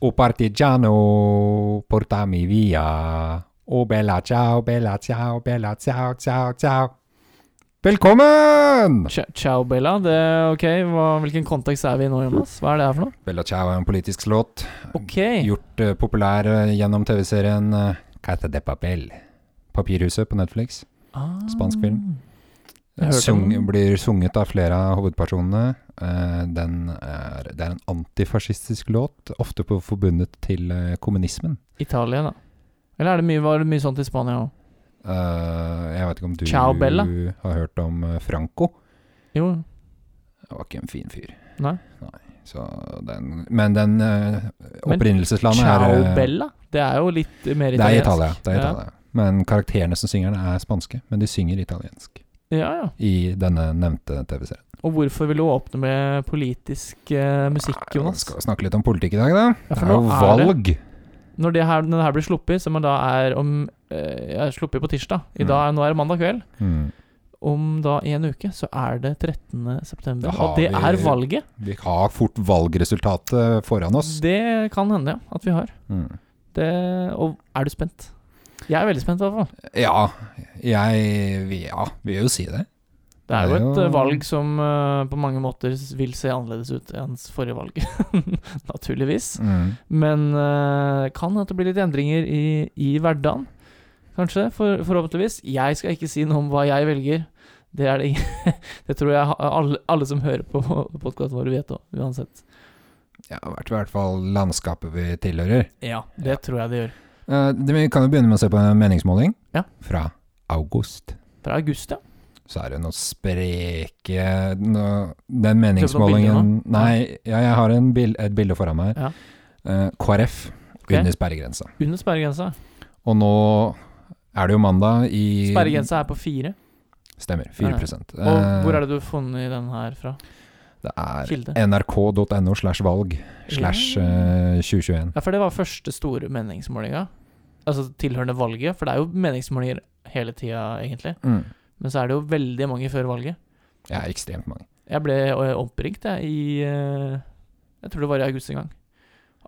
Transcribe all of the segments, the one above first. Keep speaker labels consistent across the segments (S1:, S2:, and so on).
S1: O partigiano, portami via. O bella ciao, bella ciao, bella ciao, ciao, ciao. Velkommen!
S2: Cia- Ciao, Bella. Det, ok, hva, Hvilken kontekst er vi i nå, Jonas? Hva er det her for noe?
S1: Bella ciao er en politisk låt,
S2: Ok,
S1: gjort eh, populær eh, gjennom TV-serien eh, Casa de Papel. Papirhuset på Netflix.
S2: ah.
S1: spansk film.
S2: Jeg hørte om
S1: Sung,
S2: den.
S1: blir sunget av flere av hovedpersonene. Eh, den er, det er en antifascistisk låt, ofte på, forbundet til eh, kommunismen.
S2: Italia, da. Eller er det mye, var det mye sånt i Spania òg?
S1: Eh, jeg vet ikke om du
S2: Ciao, Bella.
S1: har hørt om eh, Franco?
S2: Jo.
S1: Han var ikke en fin fyr.
S2: Nei.
S1: Så den, men den eh,
S2: Men
S1: opprinnelseslandet
S2: Ciao,
S1: er eh,
S2: Bella? Det er jo litt mer
S1: Det er
S2: italiensk.
S1: Italia. Det er
S2: Ja.
S1: Italia. Men karakterene som synger den, er spanske. Men de synger italiensk
S2: Ja, ja.
S1: i denne nevnte TV-serien.
S2: Og hvorfor vil du åpne med politisk eh, musikk,
S1: Nei,
S2: Jonas?
S1: Skal vi snakke litt om politikk i dag, da? det
S2: Ja, for
S1: er jo
S2: nå er det-
S1: valg.
S2: Når det her, når det her blir sluppet, som da er om eh, Jeg er sluppet på tirsdag. I
S1: Mm.
S2: dag, Nå er det mandag kveld.
S1: Mm.
S2: Om da en uke så er det 13. september.
S1: Da har
S2: Og det
S1: vi-
S2: er valget.
S1: Vi har fort valgresultatet foran oss. Mm.
S2: Det kan hende, ja. At vi har. Det, og er du spent? Jeg er veldig spent, i hvert fall.
S1: Ja, jeg vi- Ja, vi vil jo si det.
S2: Det er jo
S1: Det er
S2: et
S1: jo-
S2: eh, valg som eh, på mange måter s- vil se annerledes ut enn s- forrige valg. Naturligvis. Men eh, kan at det blir litt endringer i, i hverdagen. Kanskje, for, forhåpentligvis. Jeg skal ikke si noe om hva jeg velger. Det, er det, ingen- det tror jeg ha- alle, alle som hører på podkasten vår, vet òg, uansett.
S1: Ja, det har vært i hvert fall landskapet vi tilhører.
S2: Ja, det tror jeg det gjør.
S1: Eh, det- vi kan jo begynne med å se på en meningsmåling
S2: Ja.
S1: fra august.
S2: Fra august, ja.
S1: Så er det noen spreke noe, Den meningsmålingen
S2: bilder nå?
S1: Nei, ja, jeg har en bil, et bilde foran meg. her. Eh, KrF
S2: Ok.
S1: under sperregrensa.
S2: Under sperregrensa.
S1: Og nå er det jo mandag i
S2: Sperregrensa er på fire.
S1: Stemmer. 4
S2: Og hvor er det du har funnet den her fra?
S1: Det er
S2: Kilde.
S1: nrk.no slash valg eh, slash
S2: Ja.
S1: eh, 2021.
S2: Ja, for det var første store meningsmålinga. Altså tilhørende valget, for det er jo meningsmålinger hele tida, egentlig.
S1: Mm.
S2: Men så er det jo veldig mange før valget.
S1: Ja, ekstremt mange.
S2: Jeg ble eh, oppringt, jeg, i eh, Jeg tror det var i august en gang.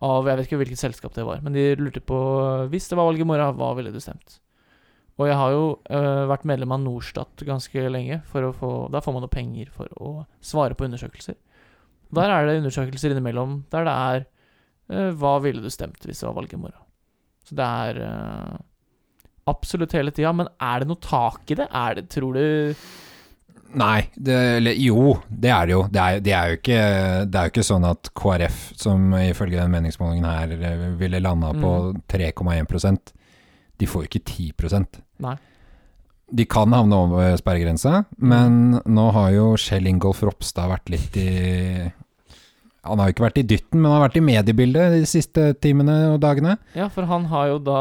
S2: Av Jeg vet ikke hvilket selskap det var, men de lurte på Hvis det var valg i morgen, hva ville du stemt? Og jeg har jo eh, vært medlem av Norstat ganske lenge. For å få, da får man jo penger for å svare på undersøkelser. Der er det undersøkelser innimellom der det er eh, Hva ville du stemt hvis det var valg i morgen? Så det er eh, absolutt hele tida. Men er det noe tak i det? Er det, tror du
S1: Nei, det, eller jo, det er det jo. Det er, det, er jo ikke, det er jo ikke sånn at KrF, som ifølge den meningsmålingen her eh, ville landa på 3,1 de får jo ikke 10
S2: Nei.
S1: De kan havne over sperregrensa, men nå har jo Kjell Ingolf Ropstad vært litt i Han har jo ikke vært i dytten, men han har vært i mediebildet de siste timene og dagene.
S2: Ja, for han har jo da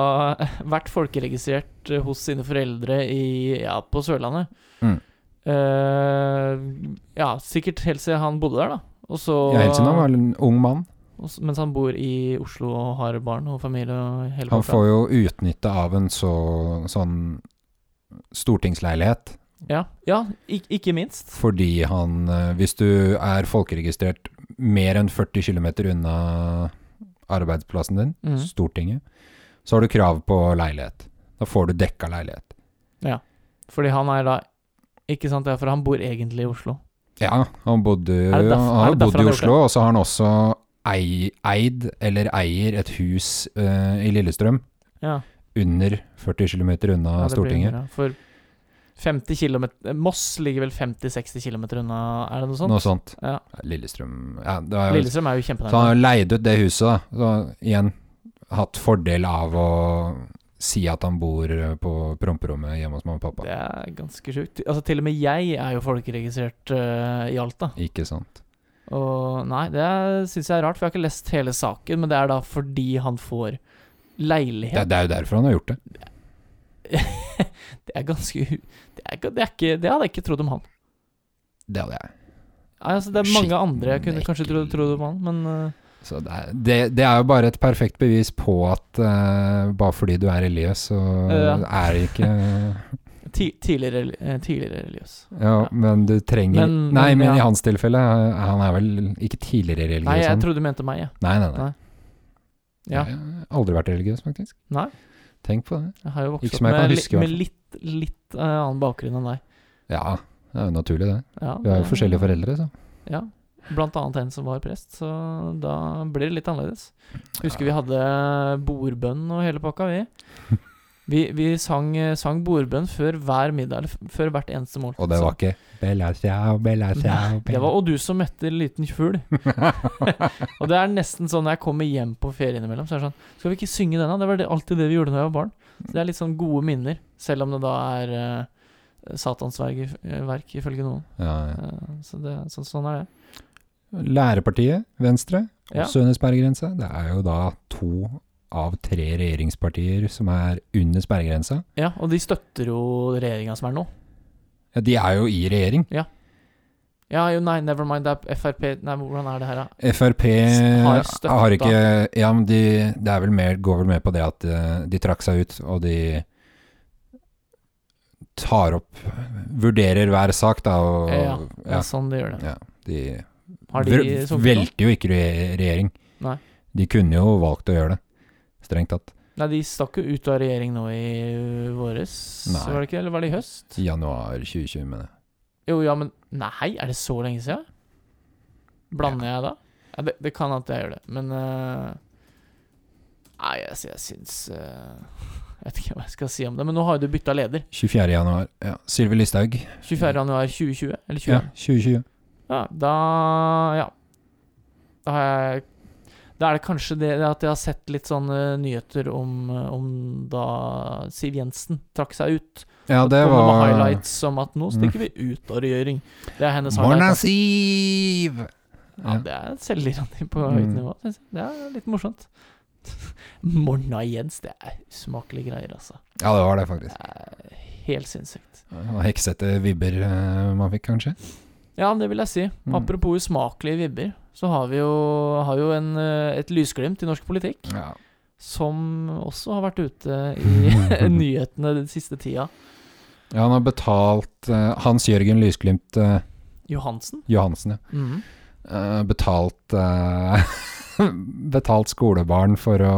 S2: vært folkeregistrert eh, hos sine foreldre i, ja, på Sørlandet.
S1: Mm.
S2: Eh, ja, sikkert helt siden han bodde der, da. Og så,
S1: Ja, Helsen han var en ung mann.
S2: og s- mens han bor i Oslo og har barn og familie og hele
S1: Han
S2: pakka.
S1: får jo utnytte av en så, sånn stortingsleilighet,
S2: Ja, ja ik ikke minst.
S1: fordi han eh, Hvis du er folkeregistrert mer enn 40 km unna arbeidsplassen din,
S2: Mhm.
S1: Stortinget, så har du krav på leilighet. Da får du dekka leilighet.
S2: Fordi han er da Ikke sant, ja, for han bor egentlig i Oslo.
S1: Ja, han bodde
S2: Er det derf-
S1: han har
S2: er det derfor
S1: bodd
S2: han
S1: i
S2: har gjort
S1: Oslo, og så har han også ei, eid, eller eier, et hus eh, i Lillestrøm
S2: Ja,
S1: under 40 km unna
S2: ja, det blir
S1: Stortinget.
S2: bra. For 50 kilometer Moss ligger vel 50-60 kilometer unna, er det noe sånt?
S1: Noe sånt.
S2: Ja.
S1: Lillestrøm ja, det er, jo-
S2: Lillestrøm er jo
S1: Så han
S2: kjempenærme.
S1: har leid ut det huset, da. Så igjen hatt fordel av å si at han bor på promperommet hjemme hos mamma og pappa.
S2: Det er ganske sjukt. Altså, til og med jeg er jo folkeregistrert eh, i Alta.
S1: Ikke sant.
S2: Og nei, det syns jeg er rart, for jeg har ikke lest hele saken, men det er da fordi han får
S1: Det,
S2: leilighet.
S1: det er jo derfor han har gjort det.
S2: Det er ganske u- Det, er, ikke- det, er ikke, det hadde jeg ikke trodd om han.
S1: Det hadde jeg.
S2: Nei, altså, det er mange andre jeg kunne kanskje trodd,
S1: Skikkelig.
S2: trodd om han, men eh,
S1: Så det er, det, det er jo bare et perfekt bevis på at eh, bare fordi du er religiøs, så
S2: Ja.
S1: er det ikke
S2: ti, tidligere, eh, tidligere religiøs.
S1: Ja, men du trenger
S2: Men-
S1: Nei,
S2: men
S1: men i
S2: ja.
S1: hans tilfelle, eh, han er vel ikke tidligere religiøs?
S2: Nei, jeg
S1: han.
S2: trodde du mente meg, jeg.
S1: nei, nei, nei.
S2: Nei. Ja.
S1: Jeg har aldri vært religiøs, faktisk.
S2: Nei.
S1: Tenk på det.
S2: Jeg har jo
S1: Ikke
S2: vokst opp
S1: som jeg
S2: med,
S1: kan
S2: li-
S1: huske, i hvert
S2: med litt, litt eh, annen bakgrunn enn deg.
S1: Ja, det er jo naturlig, det.
S2: Ja,
S1: Vi har jo
S2: det-
S1: forskjellige foreldre, så.
S2: Ja. Blant annet en som var prest, så da blir det litt annerledes. Husker vi hadde bordbønn og hele pakka, vi. Vi, vi sang, sang bordbønn før hver middag, eller f- før hvert eneste måltid.
S1: Og det var ikke Bella ciao, bella ciao,
S2: Så Det var 'Og du som metter liten fugl'. og det er nesten sånn når jeg kommer hjem på ferie innimellom, så er det sånn Skal vi ikke synge den, da? Det var det, alltid det vi gjorde da jeg var barn. Så det er litt sånn gode minner, selv om det da er uh, Satans verk, verk, ifølge noen.
S1: ja, ja.
S2: Eh, så det, så, sånn er det.
S1: Lærepartiet, Venstre, og
S2: Ja.
S1: under sperregrensa. Det er jo da to av tre regjeringspartier som er under sperregrensa.
S2: Ja, og de støtter jo regjeringa som er nå.
S1: Ja, de er jo i regjering.
S2: Ja, jo, nei, never mind, det er Frp Nei, men hvordan er det her, da?
S1: Frp
S2: Har
S1: har,
S2: støtta.
S1: ikke Ja, men de, det er vel mer, går vel med på det at eh, de trakk seg ut, og de tar opp Vurderer hver sak, da, og
S2: Ja, Det
S1: ja,
S2: er sånn de gjør det.
S1: Ja. de,
S2: Har de
S1: Vel-
S2: sunket nå?
S1: Velter jo ikke re- regjering.
S2: Nei.
S1: De kunne jo valgt å gjøre det, strengt tatt.
S2: Nei, de stakk jo ut av regjering nå i ø, våres,
S1: Nei.
S2: var det ikke? Eller var det i høst?
S1: Januar 2020, mener jeg.
S2: Jo, ja, men Nei, er det så lenge siden? Blander jeg da? Ja, det, det kan at jeg gjør det, men ø, Nei, jeg, jeg syns ø, Jeg vet ikke hva jeg skal si om det, men nå har jo du bytta leder.
S1: 24. januar. Ja. Sylvi Listhaug.
S2: 24.1.2020, eller 2021?
S1: Ja, 2020.
S2: Ja, da Ja. Da har jeg Da er det kanskje det at jeg har sett litt sånne nyheter om, eh, om da Siv Jensen trakk seg ut.
S1: Ja,
S2: At
S1: det
S2: kommer med
S1: var Mm.
S2: highlights som at 'nå stikker vi ut av regjering'. Det er hennes
S1: Morna,
S2: highlight. da.
S1: Siv!
S2: Ja, det er selvironi på høyt
S1: Mm.
S2: nivå. synes jeg. Det er litt morsomt. Morna Jens, det er usmakelige greier, altså.
S1: Ja, det var det,
S2: Det
S1: faktisk.
S2: er helt sinnssykt.
S1: Og heksete vibber eh, man fikk, kanskje.
S2: Ja, det vil jeg si.
S1: Mm.
S2: Apropos usmakelige vibber, så har vi jo, har jo en, eh, et lysglimt i norsk politikk.
S1: Ja.
S2: som også har vært ute i nyhetene den siste tida.
S1: ja, han har betalt eh, Hans Jørgen Lysglimt eh,
S2: Johansen.
S1: Johansen, ja. Eh, betalt eh, Betalt skolebarn for å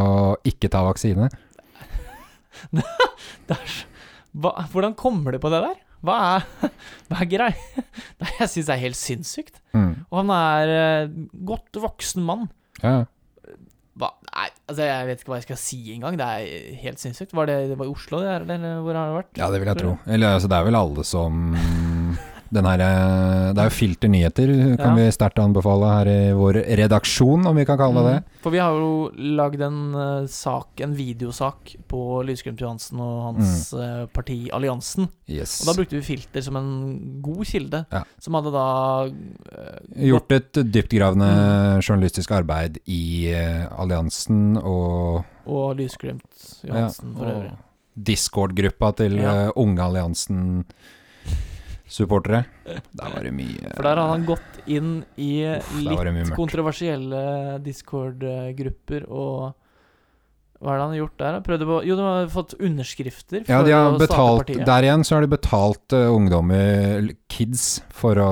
S1: ikke ta vaksine.
S2: Det er så- hva, hvordan kommer du på det der? Hva er, hva er grei? Nei, jeg syns det er helt sinnssykt.
S1: Mm.
S2: Og han er eh, godt voksen mann.
S1: Ja, ja.
S2: Hva, nei, altså jeg vet ikke hva jeg skal si engang. Det er helt sinnssykt. Var det, det var i Oslo, det, her, eller hvor har det vært?
S1: ja, det vil jeg tro.
S2: Mm.
S1: Eller altså, det er vel alle som den her, eh, det er jo filter nyheter, kan vi sterkt anbefale her i vår redaksjon, om vi kan kalle det det.
S2: Mm. For vi har jo lagd en eh, sak, en videosak, på Lysglimt Johansen og hans eh, parti Alliansen.
S1: Yes.
S2: Og da brukte vi filter som en god kilde,
S1: Ja.
S2: som hadde da eh,
S1: Gjort et dyptgravende journalistisk arbeid i eh, alliansen og,
S2: Og Lysglimt Johansen for
S1: og
S2: øvrig.
S1: Discord-gruppa til
S2: Ja.
S1: eh, Unge Alliansen-supportere. Der var det mye
S2: For der hadde han gått inn i
S1: Uff, der var det mye
S2: litt
S1: mørkt.
S2: kontroversielle Discord-grupper og Hva er det han har gjort der? da? Prøvde på Jo, de har fått underskrifter for
S1: ja, de har
S2: å starte
S1: betalt,
S2: partiet.
S1: Der igjen så har de betalt eh, ungdommer, l- kids, for å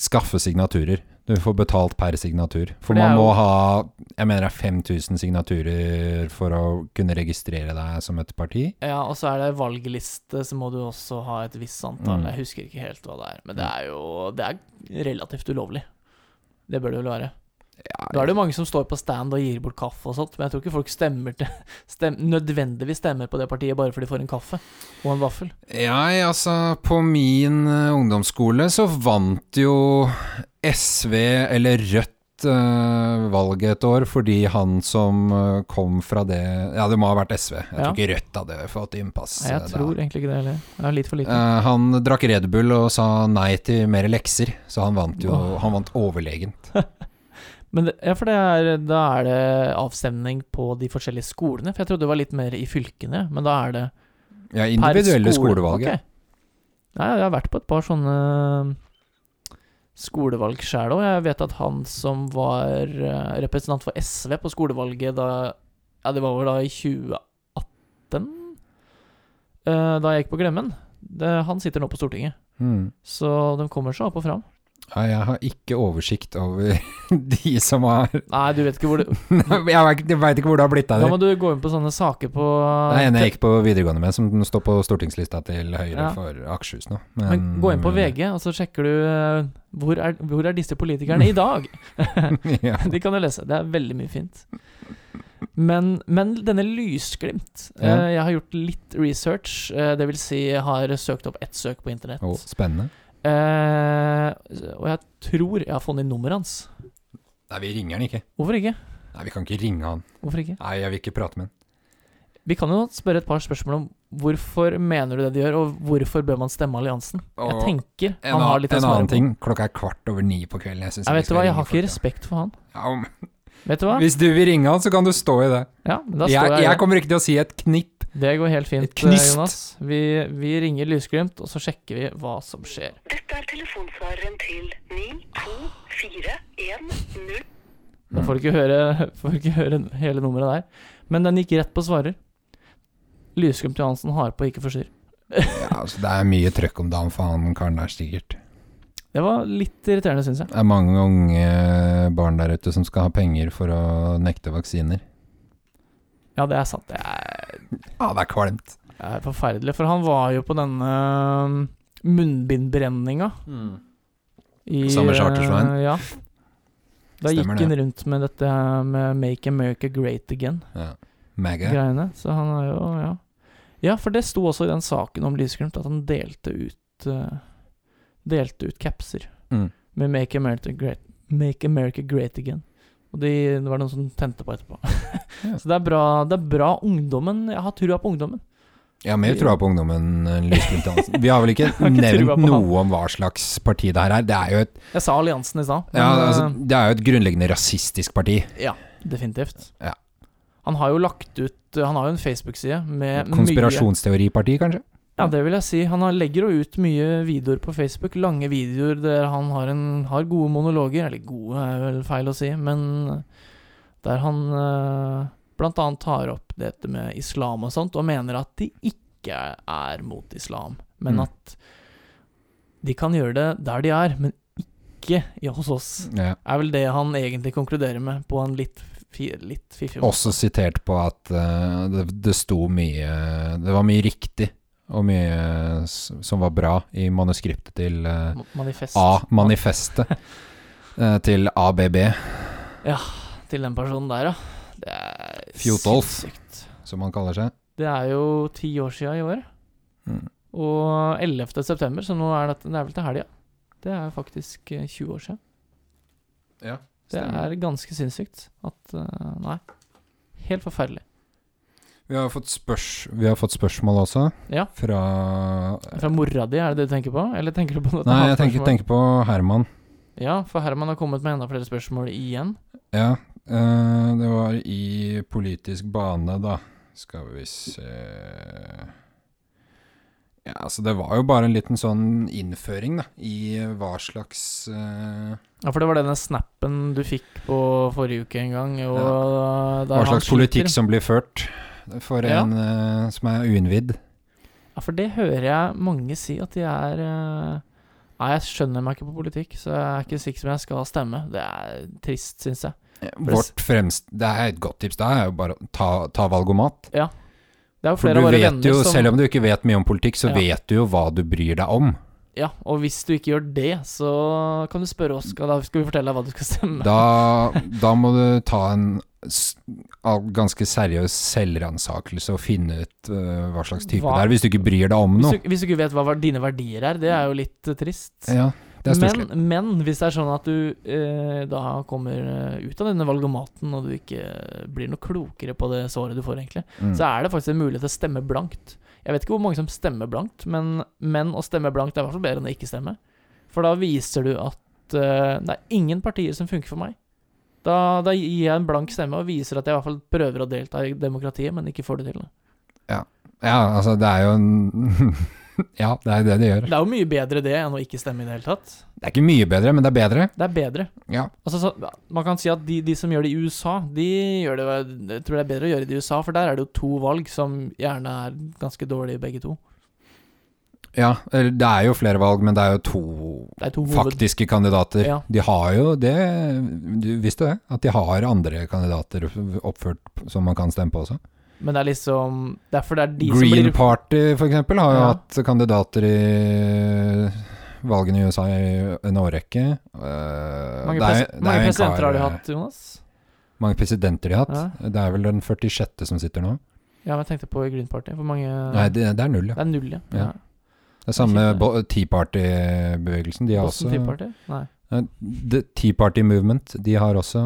S1: skaffe signaturer. Du får betalt per signatur. For
S2: For det
S1: man
S2: er
S1: må
S2: jo-
S1: ha jeg mener det er 5000 signaturer for å kunne registrere deg som et parti.
S2: Ja, og så er det valgliste, så må du også ha et visst antall.
S1: Mm.
S2: Jeg husker ikke helt hva det er, men det er jo Det er relativt ulovlig. Det bør det vel være. Da er det jo mange som står på stand og gir bort kaffe og sånt, men jeg tror ikke folk stemmer til, stem, nødvendigvis stemmer på det partiet bare fordi de får en kaffe og en vaffel.
S1: Ja, altså På min eh, ungdomsskole så vant jo SV eller Rødt eh, valget et år fordi han som eh, kom fra det Ja, det må ha vært SV. Jeg
S2: Ja.
S1: tror ikke Rødt hadde fått innpass.
S2: Nei, jeg
S1: eh,
S2: tror
S1: da.
S2: egentlig ikke det heller. Jeg er litt for liten.
S1: Eh, han drakk Red Bull og sa nei til mer lekser, så han vant jo
S2: Åh.
S1: Han vant overlegent.
S2: Men det, ja, for det er, da er det avstemning på de forskjellige skolene, for jeg trodde det var litt mer i fylkene, men da er det
S1: Ja,
S2: per
S1: individuelle
S2: skole.
S1: skolevalget.
S2: Ok. Nei, jeg har vært på et par sånne eh, skolevalg sjæl òg. Jeg vet at han som var eh, representant for SV på skolevalget da Ja, det var vel da i 2018? eh, Da jeg gikk på Glemmen. Det, han sitter nå på Stortinget,
S1: Mm.
S2: så de kommer seg opp og fram.
S1: Ja, jeg har ikke oversikt over de som har
S2: Nei, du vet ikke hvor det
S1: Jeg veit ikke, jeg vet ikke hvor det har blitt av
S2: Da må
S1: det.
S2: du gå inn på sånne saker på
S1: Det er en jeg gikk på videregående med, som står på stortingslista til Høyre
S2: Ja.
S1: for Akershus nå.
S2: Men gå
S1: Mm.
S2: inn på VG, og så sjekker du eh, hvor er, hvor er disse politikerne i dag?
S1: ja.
S2: De kan du lese. Det er veldig mye fint. Men, men denne lysglimt
S1: Ja.
S2: eh, Jeg har gjort litt research. eh, det vil si, jeg har søkt opp ett søk på internett.
S1: Å, spennende.
S2: Eh, og jeg tror jeg har funnet nummeret hans.
S1: Nei, vi ringer han ikke.
S2: Hvorfor ikke?
S1: Nei, vi kan ikke ringe han.
S2: Hvorfor ikke?
S1: Nei, jeg vil ikke prate med han.
S2: Vi kan jo spørre et par spørsmål om hvorfor mener du det de gjør, og hvorfor bør man stemme alliansen? Jeg
S1: Og
S2: tenker
S1: en,
S2: han har litt å
S1: en
S2: svare
S1: annen
S2: på.
S1: ting, klokka er kvart over ni på kvelden. Jeg, synes
S2: Jeg
S1: vi
S2: vet du
S1: skal
S2: hva, jeg
S1: ringe
S2: har
S1: folk,
S2: ikke
S1: ja.
S2: respekt for han.
S1: Ja, om-
S2: Vet du hva?
S1: Hvis du vil ringe han, så kan du stå i det.
S2: Ja, men da står
S1: Jeg,
S2: jeg, i
S1: jeg
S2: det.
S1: kommer ikke til å si et knipp.
S2: Det går helt
S1: Et
S2: fint,
S1: knyst.
S2: Jonas. Vi, vi ringer Lysglimt, og så sjekker vi hva som skjer.
S3: Dette er telefonsvareren til 9241
S1: Mm.
S2: Da får du ikke høre, får du ikke høre hele nummeret der. Men den gikk rett på svarer. Lysglimt Johansen har på ikke forstyrr.
S1: Ja, altså, det er mye trøkk om dagen for han karen der, sikkert.
S2: Det var litt irriterende, syns jeg.
S1: Det er mange unge barn der ute som skal ha penger for å nekte vaksiner.
S2: Ja, det er sant. Det er,
S1: Ja, det er kvalmt.
S2: det er forferdelig. For han var jo på denne um, munnbindbrenninga. I,
S1: Mm. Samme chartersveien.
S2: eh, Ja. Da
S1: Stemmer
S2: gikk han rundt med dette her med Make America Great Again-greiene.
S1: Ja. Mega.
S2: Så han er jo ja. ja, for det sto også i den saken om Lysglimt at han delte ut eh, Delte ut capser
S1: Mm.
S2: med Make America Great, Make America Great Again. Og de, det var noen som tente på etterpå.
S1: Ja.
S2: Så det er, bra, det er bra ungdommen Jeg har trua på ungdommen.
S1: Jeg har mer troa på ungdommen enn Lysglimt Hansen. Vi har vel ikke
S2: har ikke trua
S1: nevnt
S2: på han.
S1: noe om hva slags parti det her er. Det er jo et,
S2: Jeg sa alliansen i stad, men
S1: ja, altså,
S2: eh,
S1: det er jo et grunnleggende rasistisk parti.
S2: definitivt.
S1: Ja.
S2: Han har jo lagt ut Han har jo en Facebook-side med mye
S1: Konspirasjonsteoriparti, kanskje?
S2: Ja, det vil jeg si. Han har- legger jo ut mye videoer på Facebook. Lange videoer der han har, en, har gode monologer. Eller gode er vel feil å si, men eh, der han eh, blant annet tar opp dette med islam og sånt, og mener at de ikke er mot islam, men
S1: Mm.
S2: at de kan gjøre det der de er, men ikke i- hos oss.
S1: Ja.
S2: Er vel det han egentlig konkluderer med, på en litt, fi, litt fiffig måte.
S1: Også sitert på at eh, det, det sto mye Det var mye riktig og mye eh, s- som var bra i manuskriptet til eh,
S2: Manifest
S1: A-manifestet. eh, til ABB,
S2: til den personen der, ja. Det er
S1: Fjotolf.
S2: sinnssykt.
S1: som han kaller seg.
S2: Det er jo ti år sia i år.
S1: Mm.
S2: Og 11. september, så nå er dette, det er vel til helga. Det er faktisk eh, 20 år sia.
S1: Ja,
S2: Det er ganske sinnssykt at eh, Nei. Helt forferdelig.
S1: Vi har fått, spørs, vi har fått spørsmål også,
S2: Ja.
S1: fra
S2: Fra mora di, er det det du tenker på? Eller tenker du på dette
S1: Nei, jeg tenker,
S2: hatspørsmålet?
S1: tenker på Herman.
S2: Ja, for Herman har kommet med enda flere spørsmål igjen.
S1: Ja, eh, det var i politisk bane, da. Skal vi se Ja, altså det var jo bare en liten sånn innføring, da, i hva slags eh,
S2: Ja, for det var denne snappen du fikk på forrige uke en gang. Og der
S1: Hva
S2: han
S1: slags politikk
S2: sliter.
S1: som blir ført for
S2: Ja.
S1: en eh, som er uinnvidd.
S2: Ja, for det hører jeg mange si at de er eh, Nei, jeg skjønner meg ikke på politikk, så jeg er ikke sikker som jeg skal stemme. Det er trist, syns jeg.
S1: Vårt fremste Det er et godt tips, da er jo bare å ta, ta valgomat.
S2: Det er jo
S1: For du
S2: flere av våre
S1: vet
S2: venner
S1: jo,
S2: som
S1: selv om du ikke vet mye om politikk, så
S2: Ja.
S1: vet du jo hva du bryr deg om.
S2: Ja, og hvis du ikke gjør det, så kan du spørre oss, og da skal vi fortelle deg hva du skal stemme.
S1: Da, da må du ta en s- al- ganske seriøs selvransakelse og finne ut øh, hva slags type
S2: Hva-
S1: det er, hvis du ikke bryr deg om noe.
S2: hvis, du, hvis du ikke vet hva ver- dine verdier er, det er jo litt eh, trist.
S1: Ja, det er stusslig.
S2: men, men hvis det er sånn at du eh, da kommer eh, ut av denne valgomaten, og du ikke eh, blir noe klokere på det svaret du får, egentlig,
S1: Mm.
S2: så er det faktisk en mulighet til å stemme blankt. Jeg vet ikke hvor mange som stemmer blankt, men, men å stemme blankt er i hvert fall bedre enn å ikke stemme. For da viser du at eh, det er ingen partier som funker for meg. Da, da gir jeg en blank stemme og viser at jeg i hvert fall prøver å delta i demokratiet, men ikke får det til.
S1: Ja, altså det er jo en Ja, det er det det gjør.
S2: Det er jo mye bedre det enn å ikke stemme i det hele tatt.
S1: Det er ikke mye bedre, men det er bedre.
S2: Det er bedre.
S1: Ja.
S2: Altså, så, man kan si at de, de som gjør det i USA, de gjør det, jeg tror det er bedre å gjøre det i USA, for der er det jo to valg som gjerne er ganske dårlige begge to.
S1: Ja, eller det er jo flere valg, men det er jo to
S2: Det er to hoved...
S1: faktiske kandidater.
S2: Ja.
S1: De har jo det Du visste det? At de har andre kandidater oppført som man kan stemme på også.
S2: Men det er liksom Derfor det er de
S1: Green
S2: som blir
S1: Party for eksempel har jo
S2: Ja.
S1: hatt kandidater i eh, valgene i USA i en årrekke. Eh, det
S2: mange,
S1: er-
S2: pres
S1: det er
S2: mange
S1: jo en
S2: presidenter
S1: kar-
S2: har de hatt, Jonas?
S1: Mange presidenter de har hatt. Det er vel den 46. som sitter nå.
S2: Ja, men jeg tenkte på Green Party. Hvor mange
S1: Nei, det, det er null, ja.
S2: Det er null, ja.
S1: Ja.
S2: ja.
S1: Det er samme
S2: Shit,
S1: bo- Tea Party-bevegelsen. De har
S2: Boston Tea
S1: også
S2: Party? Nei.
S1: Nei, The Tea Party Movement. De har også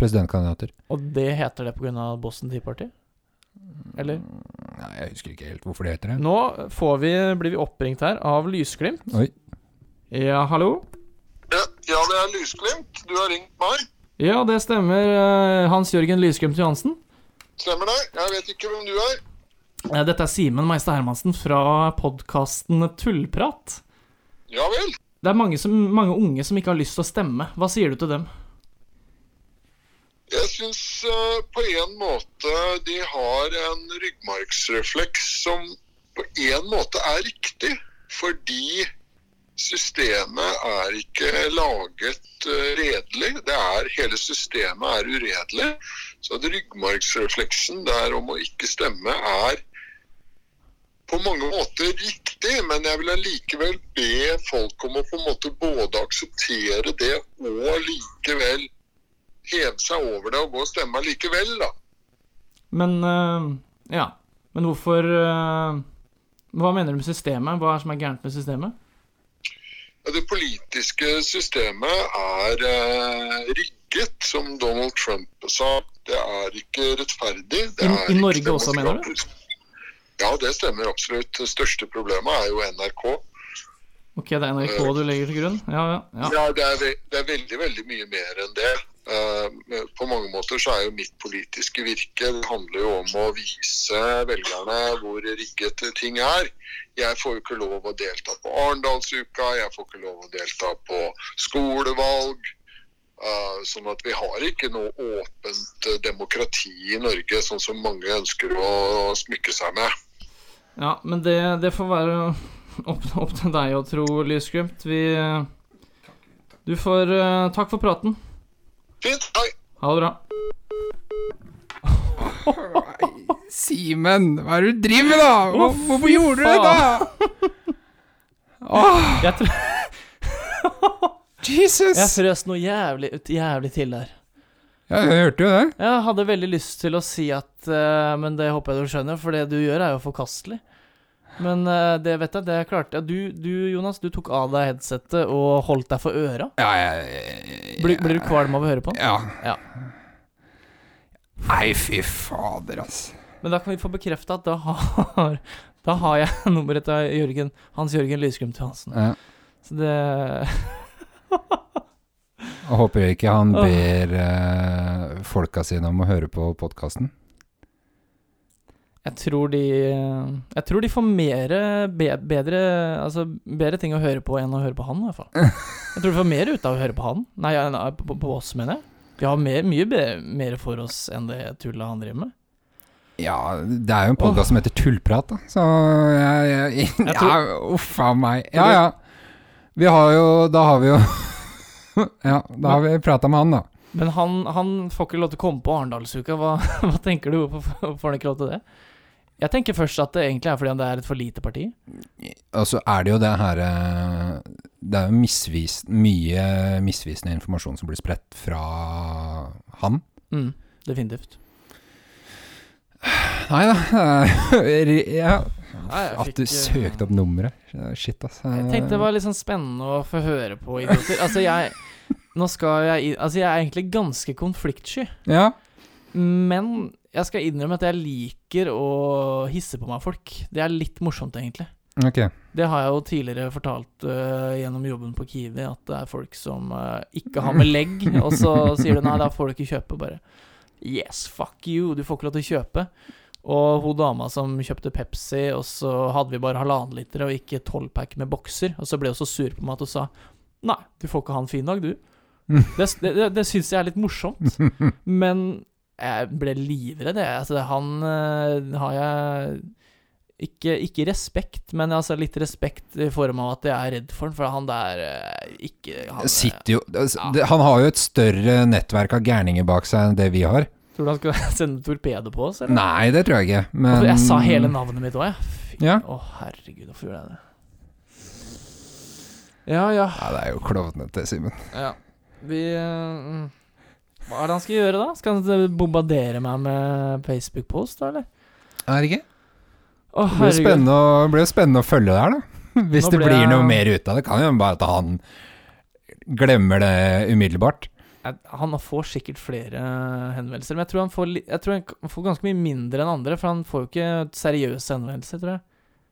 S1: presidentkandidater.
S2: Og det heter det pga. Boston Tea Party? Eller?
S1: Mm, Nei, jeg husker ikke helt hvorfor det heter det.
S2: Nå får vi, blir vi oppringt her av Lysglimt.
S1: Oi.
S2: Ja, hallo?
S4: Ja, ja, det er Lysglimt. Du har ringt meg.
S2: Ja, det stemmer. eh, Hans Jørgen Lysglimt Johansen.
S4: Stemmer det? Jeg vet ikke hvem du er.
S2: Eh, Dette er Simen Meistad Hermansen fra podkasten Tullprat.
S4: Ja vel.
S2: Det er mange, som, mange unge som ikke har lyst til å stemme. Hva sier du til dem?
S4: Jeg syns på en måte de har en ryggmargsrefleks som på en måte er riktig. Fordi systemet er ikke laget eh, redelig. Det er, hele systemet er uredelig. Så at ryggmargsrefleksen der om å ikke stemme er på mange måter riktig, men jeg vil allikevel be folk om å på en måte både akseptere det og likevel heve seg over det og gå og stemme likevel, da.
S2: Men eh, Ja. Men hvorfor eh, Hva mener du med systemet? Hva er det som er gærent med systemet?
S4: Ja, Det politiske systemet er eh, rigget, som Donald Trump sa. Det er ikke rettferdig. Det
S2: I- i
S4: er ikke
S2: Norge også, mener du?
S4: demokratisk. Ja, det stemmer absolutt. Det største problemet er jo NRK.
S2: Ok, det er NRK du legger til grunn? Ja, ja. ja.
S4: Ja, det er, ve- det er veldig, veldig mye mer enn det. Eh, på mange måter så er jo mitt politiske virke Det handler jo om å vise velgerne hvor rigget ting er. Jeg får jo ikke lov å delta på Arendalsuka, jeg får ikke lov å delta på skolevalg. Eh, sånn at vi har ikke noe åpent eh, demokrati i Norge, sånn som mange ønsker å smykke seg med.
S2: ja men det, det får være opp, opp til deg å tro, Lysglimt. Vi eh, Du får eh, Takk for praten.
S4: Fint, hei!
S2: Ha det bra.
S5: Simen, hva er det du driver med, da? Hvor, hvorfor gjorde du det,
S2: faen.
S5: da? Åh,
S2: Jeg, tr jeg
S5: Jesus!
S2: frøs noe jævlig, ut- jævlig til der.
S1: Ja, jeg hørte jo det.
S2: Jeg hadde veldig lyst til å si at eh, Men det håper jeg du skjønner, for det du gjør, er jo forkastelig. Men eh, det vet jeg, det klarte jeg. Du, du, Jonas, du tok av deg headsetet og holdt deg for øra.
S1: Ja, jeg
S2: Blir, blir du kvalm av å høre på?
S1: ja.
S2: Ja.
S1: Nei, fy fader, altså.
S2: Men da kan vi få bekrefta at da har, da har jeg nummeret til Jørgen, Hans Jørgen Lysglimt Johansen.
S1: Ja.
S2: Så det
S1: Jeg håper ikke han
S2: Åh.
S1: ber eh, folka sine om å høre på podkasten.
S2: Jeg tror de Jeg tror de får mere, be, bedre, altså, bedre ting å høre på enn å høre på han, i hvert fall. Jeg tror de får mer ut av å høre på han. Nei, ja, nei, på, på oss, mener jeg. Vi har mer, mye be- mer for oss enn det tullet han driver med.
S1: Ja, det er jo en podkast som heter Tullprat, da. Så jeg, jeg,
S2: Jeg
S1: Ja, uff a meg. Ja, ja. Vi har jo Da har vi jo Ja, da har vi prata med han, da.
S2: Men han, han får ikke lov til å komme på Arendalsuka. Hva, hva tenker du? Hvorfor får han ikke lov til det? Jeg tenker først at det egentlig er fordi han det er et for lite parti.
S1: Og så er det jo det her eh, Det er jo misvis, mye misvisende informasjon som blir spredt fra han.
S2: Mm, definitivt.
S1: Nei da. Ja.
S2: jeg
S1: At du
S2: fikk, eh,
S1: søkte opp nummeret. Shit, ass.
S2: Jeg tenkte det var litt sånn spennende å få høre på idioter. Altså, jeg Nå skal jeg i- Altså, jeg er egentlig ganske konfliktsky,
S1: Ja.
S2: men jeg skal innrømme at jeg liker å hisse på meg folk. Det er litt morsomt, egentlig.
S1: Ok.
S2: Det har jeg jo tidligere fortalt øh, gjennom jobben på Kiwi, at det er folk som øh, ikke har med legg, og så sier du nei, da får du ikke kjøpe, bare. Yes, fuck you, du får ikke lov til å kjøpe. Og hun dama som kjøpte Pepsi, og så hadde vi bare halvannen liter og ikke tolvpack med bokser, og så ble hun så sur på meg at hun sa nei, du får ikke ha en fin dag, du. Det, det, det- det syns jeg er litt morsomt, men eh, jeg ble livredd, jeg. Altså, han øh, har jeg Ikke, ikke respekt, men altså litt respekt i form av at jeg er redd for den, for han der eh, ikke han, eh,
S1: Sitter jo altså, det- Han har jo et større nettverk av gærninger bak seg enn det vi har.
S2: eh, Tror du han skulle sende torpedo på oss, eller?
S1: Nei, det tror jeg ikke, men
S2: For Jeg sa hele navnet mitt òg, jeg. Fy-
S1: Ja.
S2: Å, herregud, hvorfor gjorde jeg det? Ja, ja.
S1: Ja, det er jo klovnete, Simen.
S2: ja. Vi eh, mm. Hva er det han skal gjøre, da? Skal han eh, bombardere meg med Facebook-post, da, eller?
S1: Er det ikke?
S2: Å,
S1: Det blir jo
S2: herregud.
S1: spennende, å- det blir jo spennende å følge det her, da. Hvis
S2: Nå
S1: det
S2: ble
S1: blir
S2: jeg-
S1: noe mer ut av det, kan jo bare at han glemmer det umiddelbart.
S2: Jeg- Han får sikkert flere eh, henvendelser, men jeg tror han får, li- jeg tror han k- får ganske mye mindre enn andre, for han får jo ikke seriøse henvendelser, tror jeg.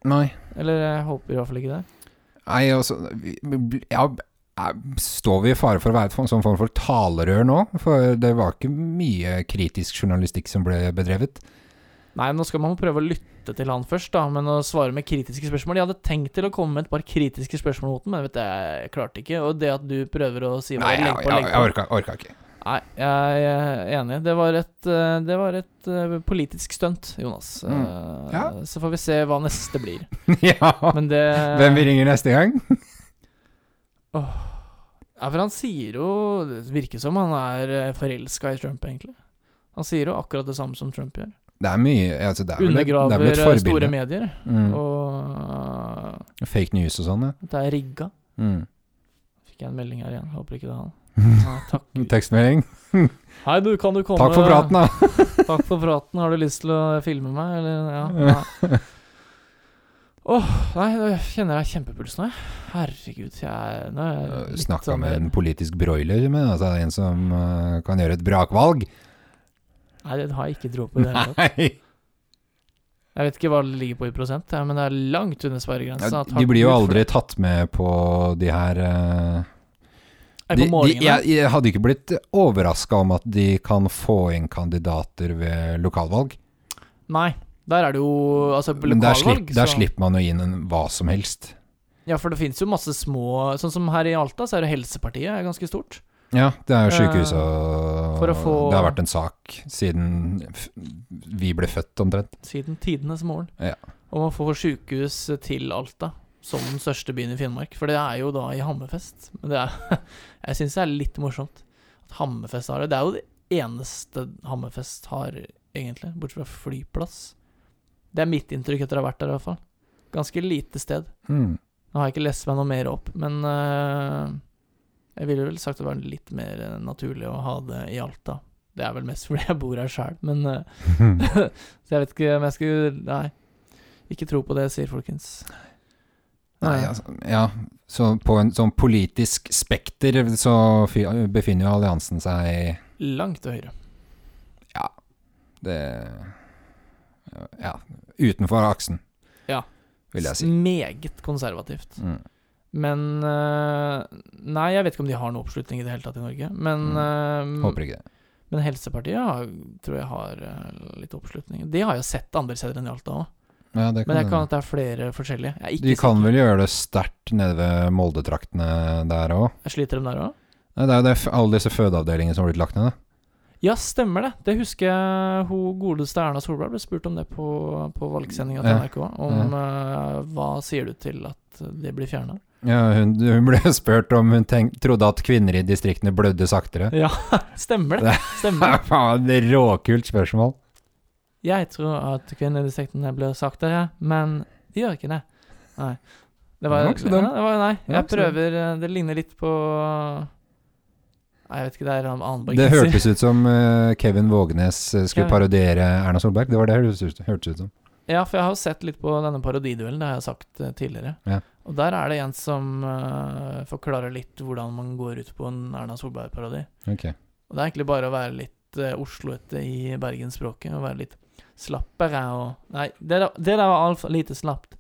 S1: Nei.
S2: Eller jeg håper i hvert fall ikke det.
S1: Nei, altså vi- vi- Ja, er- står vi i fare for å være et sånn form for talerør nå? For det var ikke mye kritisk journalistikk som ble bedrevet.
S2: Nei, nå skal man prøve å lytte til han først, da, men å svare med kritiske spørsmål. Jeg hadde tenkt til å komme med et par kritiske spørsmål mot den, men vet du, jeg klarte ikke. Og det at du prøver å si hva
S1: Nei,
S2: jeg
S1: jeg,
S2: legger på,
S1: jeg,
S2: legger
S1: jeg
S2: på.
S1: orka, orka ikke.
S2: Nei, jeg er enig. Det var et, eh, det var et eh, politisk stunt, Jonas. Eh,
S1: Mm. Ja.
S2: Så får vi se hva neste blir.
S1: ja.
S2: Men det
S1: Hvem vi ringer neste gang?
S2: Ja, for han sier jo Det virker som han er forelska i Trump, egentlig. Han sier jo akkurat det samme som Trump gjør.
S1: Det er mye altså, det er vel et- det er vel
S2: Undergraver
S1: et
S2: eh, store
S1: forbilde.
S2: medier.
S1: Mm.
S2: Og eh,
S1: Fake news og sånn, ja.
S2: det er rigga.
S1: Mm.
S2: Fikk jeg en melding her igjen. Håper ikke det er han. Nei, takk.
S1: Tekstmelding.
S2: Hei, du, kan du komme
S1: Takk for praten, da.
S2: Takk for praten. Har du lyst til å filme meg, eller? Ja. Nei. Åh, nei, nå kjenner jeg kjempepuls nå, jeg. Herregud, jeg er- nå er jeg litt
S1: Snakka
S2: sånn-
S1: med Eh, en politisk broiler, men altså en som eh, kan gjøre et brakvalg.
S2: Nei, det har jeg ikke tro på i det hele tatt.
S1: Nei!
S2: Jeg vet ikke hva det ligger på i prosent, ja, men det er langt under sperregrensa.
S1: Ja,
S2: Takk
S1: de blir jo
S2: Gud for
S1: aldri
S2: det.
S1: tatt med på de her eh,
S2: Nei,
S1: de,
S2: på
S1: de,
S2: målingene.
S1: jeg, jeg hadde ikke blitt overraska om at de kan få inn kandidater ved lokalvalg.
S2: Nei, der er det jo altså, på
S1: Men der,
S2: lokalvalg,
S1: slipp, der
S2: så-
S1: slipper man jo inn en, hva som helst.
S2: Ja, for det finnes jo masse små Sånn som her i Alta, så er det Helsepartiet er ganske stort.
S1: Ja, det er jo
S2: Eh,
S1: sykehus og
S2: for å få-
S1: Det har vært en sak siden f vi ble født, omtrent.
S2: Siden tidenes morgen.
S1: Ja.
S2: Og man får sykehus til Alta, som den største byen i Finnmark. For det er jo da i Hammerfest. Men det er, jeg syns det er litt morsomt at Hammerfest har det. Det er jo det eneste Hammerfest har, egentlig. Bortsett fra flyplass. Det er mitt inntrykk etter å ha vært der, i hvert fall. Ganske lite sted.
S1: Mm.
S2: Nå har jeg ikke lest meg noe mer opp, men øh, jeg ville vel sagt det var litt mer eh, naturlig å ha det i Alta. Det er vel mest fordi jeg bor her sjøl, men øh, Så jeg vet ikke om jeg skulle Nei. Ikke tro på det jeg sier, folkens.
S1: Nei, altså, ja. Så på en sånn politisk spekter så fy- befinner jo alliansen seg
S2: Langt til høyre.
S1: det Ja, utenfor aksen,
S2: Ja.
S1: vil jeg si.
S2: Meget konservativt.
S1: Mm.
S2: Men øh, Nei, jeg vet ikke om de har noe oppslutning i det hele tatt i Norge. Men, øh,
S1: Mm. Håper ikke det.
S2: men Helsepartiet har, tror jeg har øh, litt oppslutning. Det har jeg sett andre steder enn i Alta òg.
S1: Ja, det kan
S2: Men jeg
S1: hende.
S2: kan at det er flere forskjellige. Jeg, er ikke
S1: Mm. De kan
S2: sikker.
S1: vel gjøre det sterkt nede ved Moldetraktene der òg?
S2: jeg sliter dem der òg.
S1: Det er jo det, f- alle disse fødeavdelingene som har blitt lagt ned. da.
S2: Ja, stemmer det. Det husker jeg hun godeste Erna Solberg ble spurt om det på, på valgsendinga til
S1: Ja. Mhm.
S2: NRK. Om eh, hva sier du til at det blir fjerna?
S1: Ja, hun, hun ble spurt om hun tenk, trodde at kvinner i distriktene blødde saktere.
S2: Ja, stemmer det.
S1: Det-
S2: Stemmer. det.
S1: Faen, det er råkult spørsmål.
S2: Jeg tror at kvinnedistriktene blir saktere, men de gjør ikke det. Nei. Det var,
S1: Det var ikke så
S2: ja,
S1: dumt.
S2: det var Nei,
S1: Det var
S2: jeg
S1: ikke så
S2: prøver eh, Det ligner litt på Nei, jeg vet ikke, det er han Annenberg
S1: Det
S2: sier.
S1: hørtes ut som eh, Kevin Vågenes eh, skulle
S2: Ja.
S1: parodiere Erna Solberg. Det var det det hørtes ut, hørtes ut som.
S2: Ja, for jeg har jo sett litt på denne parodiduellen, det har jeg sagt eh, tidligere.
S1: Ja.
S2: Og der er det en som eh, forklarer litt hvordan man går ut på en Erna Solberg-parodi.
S1: Ok.
S2: Og det er egentlig bare å være litt uh, osloete i bergensspråket, og være litt slappere og Nei, det der, det der var altfor lite slapt.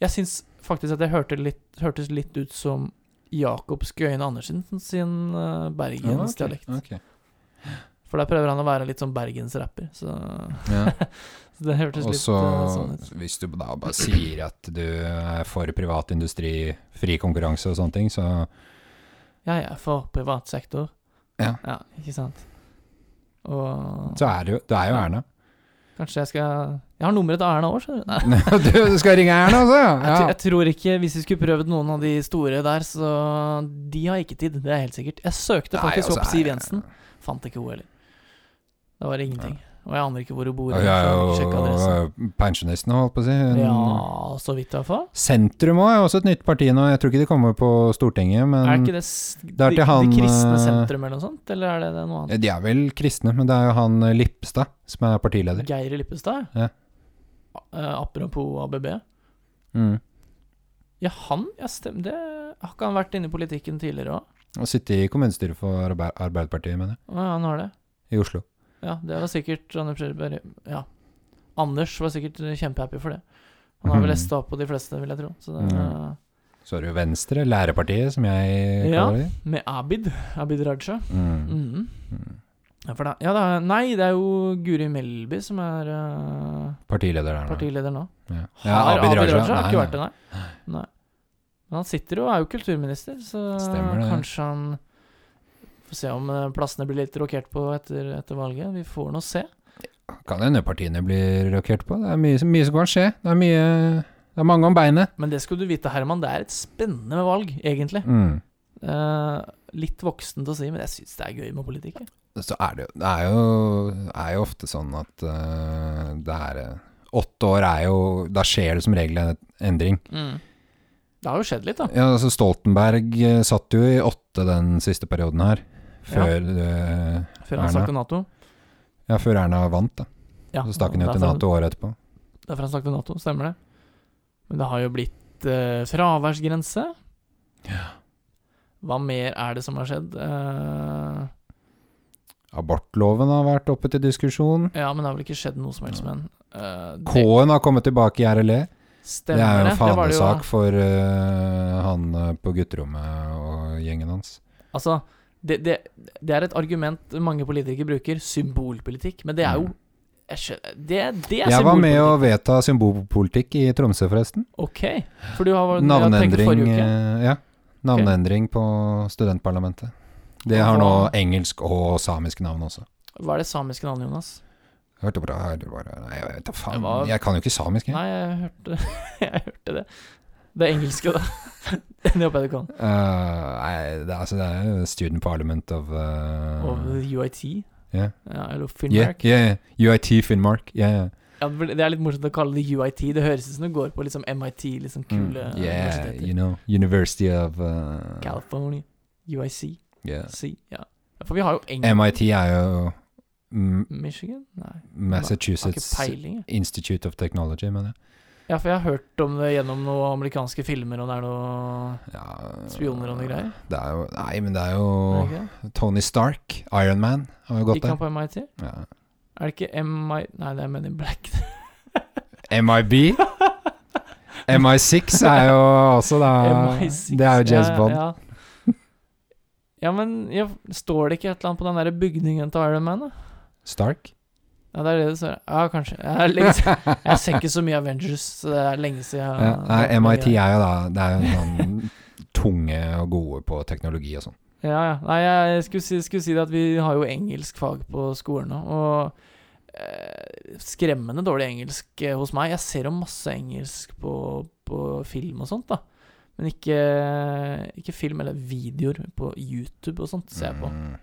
S2: Jeg syns faktisk at det hørte litt, hørtes litt ut som Jakob Skøyen Andersen sin eh, bergensdialekt.
S1: Ah, ok, ok.
S2: For der prøver han å være litt sånn bergensrapper, så,
S1: Ja.
S2: så det hørtes
S1: Og
S2: litt
S1: så,
S2: eh, sånn ut.
S1: hvis du da bare sier at du er for privat industri, fri konkurranse og sånne ting, så
S2: Jeg er for privat sektor.
S1: Ja.
S2: ikke sant? Og
S1: Så er det jo, det er jo Erna.
S2: Kanskje jeg skal Jeg har nummeret til Erna òg, skjønner du. Nei.
S1: du, du skal ringe Erna, altså?
S2: Jeg, tr-
S1: Ja.
S2: jeg tror ikke Hvis vi skulle prøvd noen av de store der, så De har ikke tid, det er helt sikkert. Jeg søkte
S1: Nei,
S2: faktisk
S1: altså,
S2: opp Siv
S1: jeg-
S2: Jensen. Fant ikke henne heller. Det var ingenting. Og jeg aner ikke hvor hun bor.
S1: Ja, ja,
S2: så
S1: og-
S2: sjekk adressen.
S1: og pensjonisten, holdt på å si. Hun-
S2: Ja, så vidt i hvert fall.
S1: Sentrum òg er også et nytt parti nå. Jeg tror ikke de kommer på Stortinget, men
S2: Er ikke det s-
S1: er
S2: de,
S1: til han,
S2: de kristne
S1: eh,
S2: sentrum eller noe sånt? Eller er det, det noe annet?
S1: De er vel kristne, men det er jo han eh, Lippstad som er partileder.
S2: Geir Lippestad?
S1: Ja.
S2: Eh, apropos ABB.
S1: Mm.
S2: Ja, han? Ja, stemmer det. Har ikke han vært inne i politikken tidligere òg?
S1: Og sitter i kommunestyret for Arbe- Arbeiderpartiet, mener jeg.
S2: Å ja, han har det.
S1: I Oslo.
S2: Ja, det var sikkert Anders Berg Ja. Anders var sikkert kjempehappy for det. Han har vel
S1: Mhm.
S2: lesta opp på de fleste, vil jeg tro. Så det,
S1: Mhm. Så er det jo Venstre, lærepartiet, som jeg
S2: Ja.
S1: kaller det.
S2: Med Abid. Abid Raja.
S1: Mm.
S2: Mhm. Ja, for det, ja, det er, nei, det er jo Guri Melby som er eh,
S1: Partileder der nå.
S2: partileder nå.
S1: Ja.
S2: Har
S1: Ja, Abid Raja.
S2: har
S1: Nei,
S2: ikke
S1: nei.
S2: vært det, nei. nei. Men han sitter jo og er jo kulturminister, så
S1: Stemmer det.
S2: kanskje han Får se om eh, plassene blir litt rokert på etter, etter valget. Vi får nå se.
S1: Kan hende partiene blir rokert på. Det er mye, mye som kan skje. Det er, mye, det er mange om beinet.
S2: Men det skal du vite, Herman, det er et spennende valg, egentlig.
S1: Mm.
S2: Eh, litt voksen til å si, men jeg syns det er gøy med politikk. jeg.
S1: Så er det, jo- det er jo, er jo ofte sånn at eh, det er eh, Åtte år er jo Da skjer det som regel en endring.
S2: Det har jo skjedd litt, da.
S1: Ja, altså Stoltenberg eh, satt jo i åtte den siste perioden her. Før, eh,
S2: Før han
S1: Erna.
S2: snakket Nato.
S1: ja, før Erna vant, da.
S2: Ja,
S1: Så stakk han jo til
S2: derfor-
S1: Nato året etterpå.
S2: Derfor han snakket Nato, stemmer det. Men det har jo blitt eh, fraværsgrense. Hva mer er det som har skjedd? Eh,
S1: Abortloven har vært oppe til diskusjon.
S2: ja, men det har vel ikke skjedd noe som helst med den. Eh, det
S1: K-en har kommet tilbake i RLE.
S2: stemmer
S1: det er jo en
S2: det. Det var det jo-
S1: fanesak for eh, han eh, på gutterommet og gjengen hans.
S2: Altså, det, det, det er et argument mange politikere bruker, symbolpolitikk. Men det er jo jeg skjønner, det, det
S1: Mm.
S2: er
S1: Jeg var med å
S2: symbolpolitikk.
S1: vedta symbolpolitikk i Tromsø, forresten.
S2: Ok, for du har Navneendring
S1: Navneendring,
S2: forrige uke.
S1: eh, ja, navneendring på studentparlamentet. Det har nå
S2: Hva-
S1: engelsk og samisk navn også.
S2: Hva er det samiske navnet, Jonas?
S1: Hørte bra, hørte bra. Nei, jeg vet da
S2: Det
S1: faen.
S2: var-
S1: Jeg kan jo ikke samisk, jeg.
S2: Nei, jeg hørte, jeg hørte det. Det engelske, da. Det håper jeg du kan.
S1: Eh, nei, det, er- altså, det er jo Student Parliament of eh,
S2: Og UiT.
S1: Ja.
S2: Ja, eller
S1: yeah,
S2: Finnmark.
S1: yeah, UiT Finnmark. Yeah, yeah.
S2: Ja, for det er litt morsomt å kalle det UiT. Det høres ut som det går på liksom MIT, liksom kule
S1: Mm, yeah,
S2: universiteter.
S1: you know, University of eh,
S2: California. UIC.
S1: yeah.
S2: C. Ja. For vi har jo England.
S1: MIT er jo mm,
S2: Michigan? Nei, har ikke
S1: Massachusetts
S2: peiling. jeg.
S1: Institute of Technology, mener jeg.
S2: Ja, for jeg har hørt om det gjennom noen amerikanske filmer, og det er noen
S1: Ja,
S2: spioner og noe greier.
S1: Det er jo, nei, men det er
S2: Er det
S1: jo
S2: ikke det?
S1: Tony Stark, Iron Man, har jo gått
S2: Gikk han
S1: der.
S2: på MIT?
S1: Ja.
S2: Er det ikke MI... Nei, det er Men in Black.
S1: MIB. MI6 er jo også da
S2: MI6.
S1: Ah, Det er jo James
S2: Ja,
S1: Bond.
S2: Ja, ja men ja, står det ikke et eller annet på den der bygningen til Iron Man, da?
S1: Stark.
S2: Ja, det er det det står. Ja, kanskje. Jeg, er lenge, siden- jeg ser ikke så mye Avengers, så det er lenge siden jeg
S1: Ja, nei, MIT er jo da Det er jo sånn tunge og gode på teknologi og sånn.
S2: Ja, ja. Nei, jeg skulle si, skulle si det at vi har jo engelsk fag på skolen nå, og eh, skremmende dårlig engelsk eh, hos meg. Jeg ser jo masse engelsk på, på film og sånt, da. Men ikke, ikke film eller videoer på YouTube og sånt ser jeg på.
S1: Mm,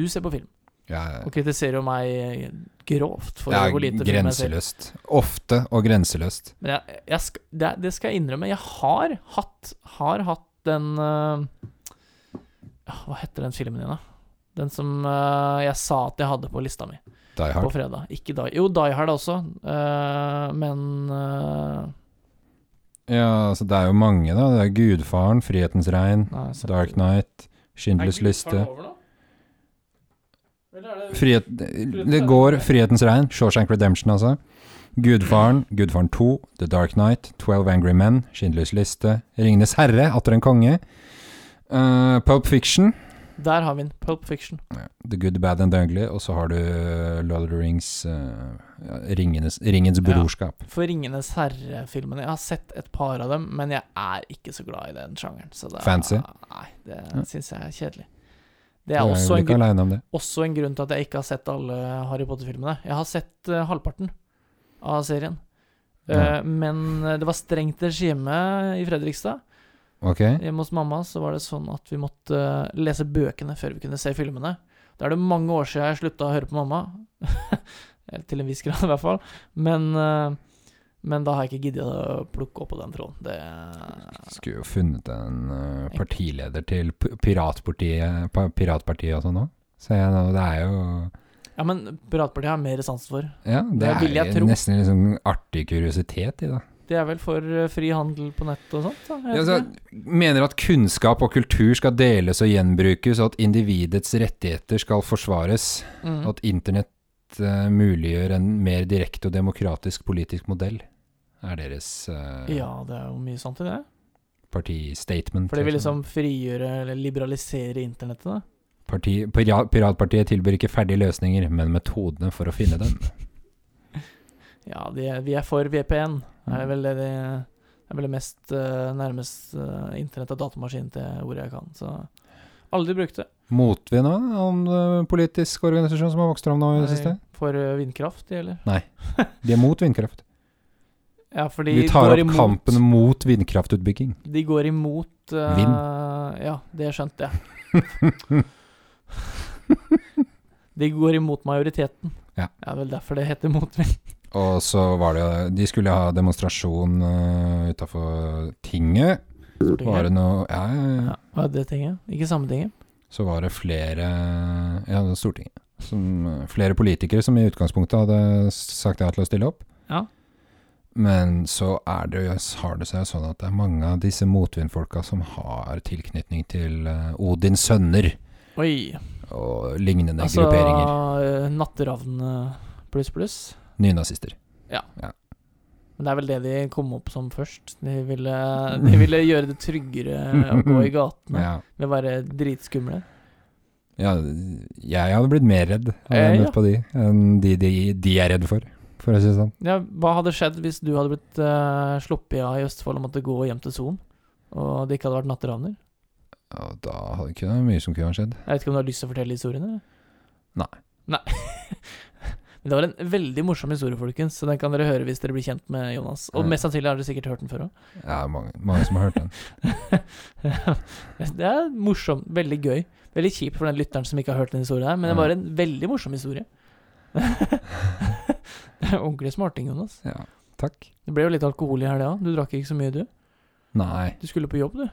S2: Du ser på film,
S1: ja,
S2: og kritiserer jo meg grovt for
S1: det
S2: hvor
S1: er
S2: lite film jeg ser.
S1: grenseløst. Ofte og grenseløst.
S2: Men jeg, jeg skal, det, er- det skal jeg innrømme. Jeg har hatt, har hatt den øh, ah, Hva heter den filmen din, da? Den som øh, jeg sa at jeg hadde på lista mi
S1: Die
S2: på
S1: Hard.
S2: fredag. Ikke Die Jo, Die Hard også, øh, men øh,
S1: Ja, altså det er jo mange, da. Det er Gudfaren, Frihetens regn,
S2: nei, jeg ser-
S1: Dark Knight, Schindlers liste. Frihet, det går Frihetens regn, Shawshank Redemption altså. Gudfaren, Gudfaren 2, The Dark Knight, 12 Angry Men, Schindlers liste, Ringenes herre, Atter en konge, uh, Pulp Fiction,
S2: Der har vi den. Pulp Fiction.
S1: The Good, Bad and the Ugly, og så har du Lord of the Rings, eh, ja, Ringenes, Ringens brorskap.
S2: For Ringenes herre-filmene Jeg har sett et par av dem, men jeg er ikke så glad i den sjangeren. Så det er,
S1: Fancy?
S2: Nei, det
S1: Ja.
S2: syns jeg er kjedelig. Det er også
S1: vel
S2: en,
S1: ikke
S2: grunn,
S1: alene om det.
S2: også en grunn til at jeg ikke har sett alle Harry Potter-filmene. Jeg har sett eh, halvparten av serien. Eh, men eh, det var strengt regime i Fredrikstad.
S1: Ok.
S2: Hjemme hos mamma så var det sånn at vi måtte eh, lese bøkene før vi kunne se filmene. Da er det mange år siden jeg slutta å høre på mamma. Eller Til en viss grad, i hvert fall. Men, eh, men da har jeg ikke giddet å plukke opp på den tråden. Det
S1: Skulle jo funnet en eh, partileder til p- piratpartiet, pa- piratpartiet og sånn òg. Ser jeg nå. Det er jo
S2: Ja, men Piratpartiet har jeg mer sans for.
S1: Ja, det,
S2: Det vil jeg
S1: er
S2: tro.
S1: jo nesten litt sånn artig kuriositet i det.
S2: Det er vel for eh, fri handel på nett og sånt? Da? Jeg
S1: Ja,
S2: vet
S1: altså,
S2: ikke.
S1: mener at kunnskap og kultur skal deles og gjenbrukes, og at individets rettigheter skal forsvares.
S2: Mm.
S1: Og at internett eh, muliggjør en mer direkte og demokratisk politisk modell, er deres eh,
S2: ja, det er jo mye sant i det.
S1: partistatement.
S2: For det vil liksom frigjøre eller liberalisere internettet, da.
S1: Parti, pirat, piratpartiet tilbyr ikke ferdige løsninger, men metodene for å finne dem.
S2: Ja, de er, vi er for VPN. Det
S1: Mm.
S2: er vel det, det, det, er vel det mest eh, nærmest eh, internett og datamaskin til ordet jeg kan. Så aldri brukt det.
S1: Motvind av en eh, politisk organisasjon som har vokst fram nå i det siste.
S2: For eh, vindkraft, de, eller?
S1: De er mot vindkraft.
S2: Ja, for de
S1: Vi tar
S2: går
S1: opp
S2: imot-
S1: kampen mot vindkraftutbygging.
S2: De går imot eh, Ja, det skjønte jeg. de går imot majoriteten.
S1: Ja.
S2: Det er vel derfor det heter motvind.
S1: Og så var det jo De skulle ha demonstrasjon uh, utafor tinget. Var det noe ja, ja, ja.
S2: ja, var det tinget? Ikke Sametinget?
S1: Så var det flere Ja, det var Stortinget. Som, eh, flere politikere som i utgangspunktet hadde sagt ja til å stille opp.
S2: Ja.
S1: Men så er det, jo- har det seg jo sånn at det er mange av disse motvindfolka som har tilknytning til eh, Odins sønner
S2: Oi.
S1: og lignende
S2: Altså
S1: grupperinger.
S2: eh, Natteravn eh, pluss pluss.
S1: Nynazister.
S2: Men det er vel det de kom opp som først. De ville, de ville gjøre det tryggere å gå i gatene
S1: Mm. Ja.
S2: ved å være dritskumle.
S1: Ja, jeg hadde blitt mer redd hadde
S2: Eh,
S1: jeg
S2: ja.
S1: møtt på de, enn de, de de er redd for, for å si det sånn.
S2: Ja, hva hadde skjedd hvis du hadde blitt eh, sluppet av i Østfold og måtte gå hjem til Son, og det ikke hadde vært natteravner?
S1: Ja, da hadde ikke det mye som kunne ha skjedd.
S2: Jeg vet ikke om du har lyst til å fortelle historien? eller?
S1: Nei.
S2: Nei. Men det var en veldig morsom historie, folkens, så den kan dere høre hvis dere blir kjent med Jonas. Og
S1: Ja.
S2: mest sannsynlig har dere sikkert hørt den før òg.
S1: Ja, mange, mange som har hørt den.
S2: det er morsomt. Veldig gøy. Veldig kjipt for den lytteren som ikke har hørt den historien her, men det
S1: Ja.
S2: var en veldig morsom historie. det er ordentlig smarting, Jonas.
S1: Ja, takk.
S2: Det ble jo litt alkohol i helga òg. Du drakk ikke så mye, du.
S1: Nei.
S2: Du skulle på jobb, du.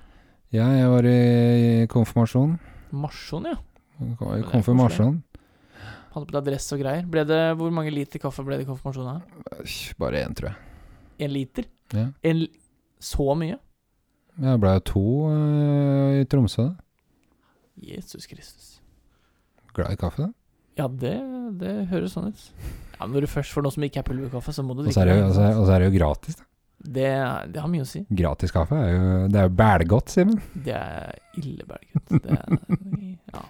S1: Ja, jeg var i konfirmasjon.
S2: Marsjon, ja.
S1: Jeg var
S2: Det
S1: i
S2: er
S1: Konfirmasjon.
S2: Hadde på deg dress og greier. Ble det, hvor mange liter kaffe ble det i konfirmasjonen? her?
S1: Øy, Bare én, tror jeg.
S2: En liter?
S1: Ja.
S2: En, li- så mye?
S1: Jeg ble jo to eh, i Tromsø. da.
S2: Jesus Kristus.
S1: Glad i kaffe. da.
S2: Ja, det, det høres sånn ut. Ja, men Når du først får noe som ikke er altså. pulverkaffe, så må du
S1: Og så er det jo- altså, og så er- og så er det jo gratis. Da.
S2: Det, det har mye å si.
S1: Gratis kaffe er jo, det er jo bælgodt, Simen.
S2: Det er ille, Berggutt. Det er- Ja.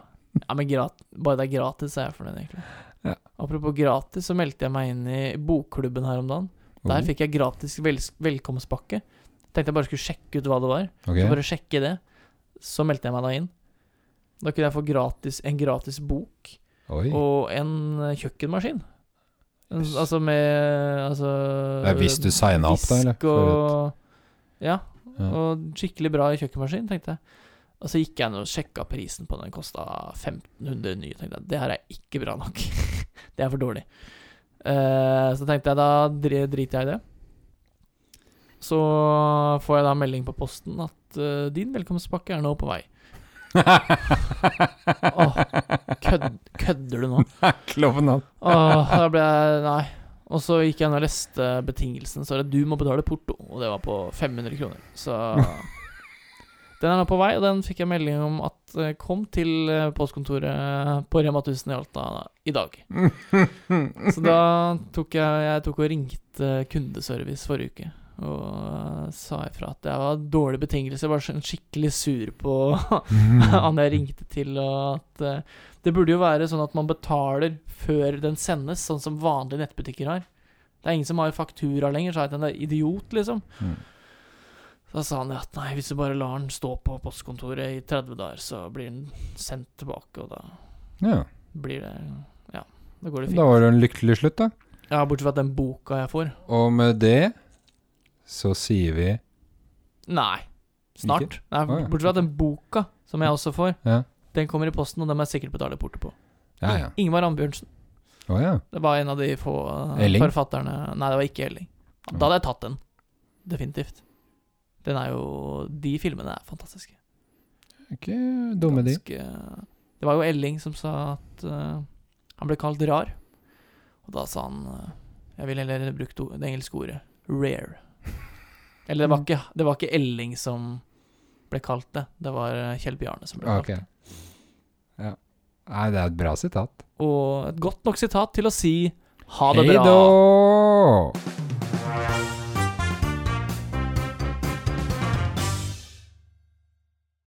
S2: ja, men grat, bare det er gratis, er jeg fornøyd, egentlig.
S1: Ja.
S2: Apropos gratis, så meldte jeg meg inn i bokklubben her om dagen.
S1: Oh,
S2: Der fikk jeg gratis vel, velkomstpakke. Tenkte jeg bare skulle sjekke ut hva det var.
S1: ok.
S2: Så bare sjekke det. Så meldte jeg meg da inn. Da kunne jeg få gratis, en gratis bok
S1: Oi.
S2: og en eh, kjøkkenmaskin. En- Altså med altså,
S1: Ja, hvis du signa opp, da, eller?
S2: disk
S1: For
S2: Og, ja,
S1: Ja.
S2: og skikkelig bra kjøkkenmaskin, tenkte jeg. Og så gikk jeg ned og sjekka prisen på den, kosta 1500 nye. tenkte jeg, Det her er ikke bra nok. det er for dårlig. Eh, så tenkte jeg, da dri- driter jeg i det. Så får jeg da melding på posten at eh, din velkomstpakke er nå på vei. Åh, kødd, kødder du nå?
S1: et- Klovnene.
S2: Åh, da ble jeg Nei. Og så gikk jeg ned og leste betingelsen, så er det du må betale porto, og det var på 500 kroner. Så den er nå på vei, og den fikk jeg melding om at eh, kom til eh, postkontoret på Rema 1000 i Alta i dag. Så da tok jeg, jeg tok og ringte eh, kundeservice forrige uke og eh, sa ifra at det var dårlige betingelser. Jeg var sånn skikkelig sur på
S1: Mm.
S2: han jeg ringte til, og at eh, det burde jo være sånn at man betaler før den sendes, sånn som vanlige nettbutikker har. Det er ingen som har faktura lenger, sa jeg til en idiot, liksom.
S1: Mm.
S2: Da sa han at nei, hvis du bare lar den stå på postkontoret i 30 dager, så blir den sendt tilbake, og da
S1: Ja.
S2: blir det Ja, da går det
S1: Da
S2: fint.
S1: var det en lykkelig slutt, da.
S2: Ja, bortsett fra den boka jeg får.
S1: Og med det så sier vi
S2: Nei. Snart. Nei,
S1: Å, ja.
S2: bortsett fra den boka som jeg også får,
S1: Ja.
S2: den kommer i posten, og den må jeg sikkert betale porto på.
S1: Ja, ja.
S2: Ingvar Ambjørnsen.
S1: Å ja.
S2: Det var en av de få eh,
S1: Elling?
S2: forfatterne Nei, det var ikke Elling. Da hadde jeg tatt den. Definitivt. Den er jo De filmene er fantastiske.
S1: Ikke dumme de.
S2: Ganske- eh, Det var jo Elling som sa at eh, han ble kalt rar. Og da sa han eh, Jeg ville heller brukt o- det engelske ordet rare. Eller
S1: Mm.
S2: det var ikke, det var ikke Elling som ble kalt det. Det var eh, Kjell Bjarne som ble
S1: Ah, Ok.
S2: kalt det.
S1: Ja. Nei, det er et bra sitat.
S2: Og et godt nok sitat til å si ha det
S1: Hei
S2: bra.
S1: då!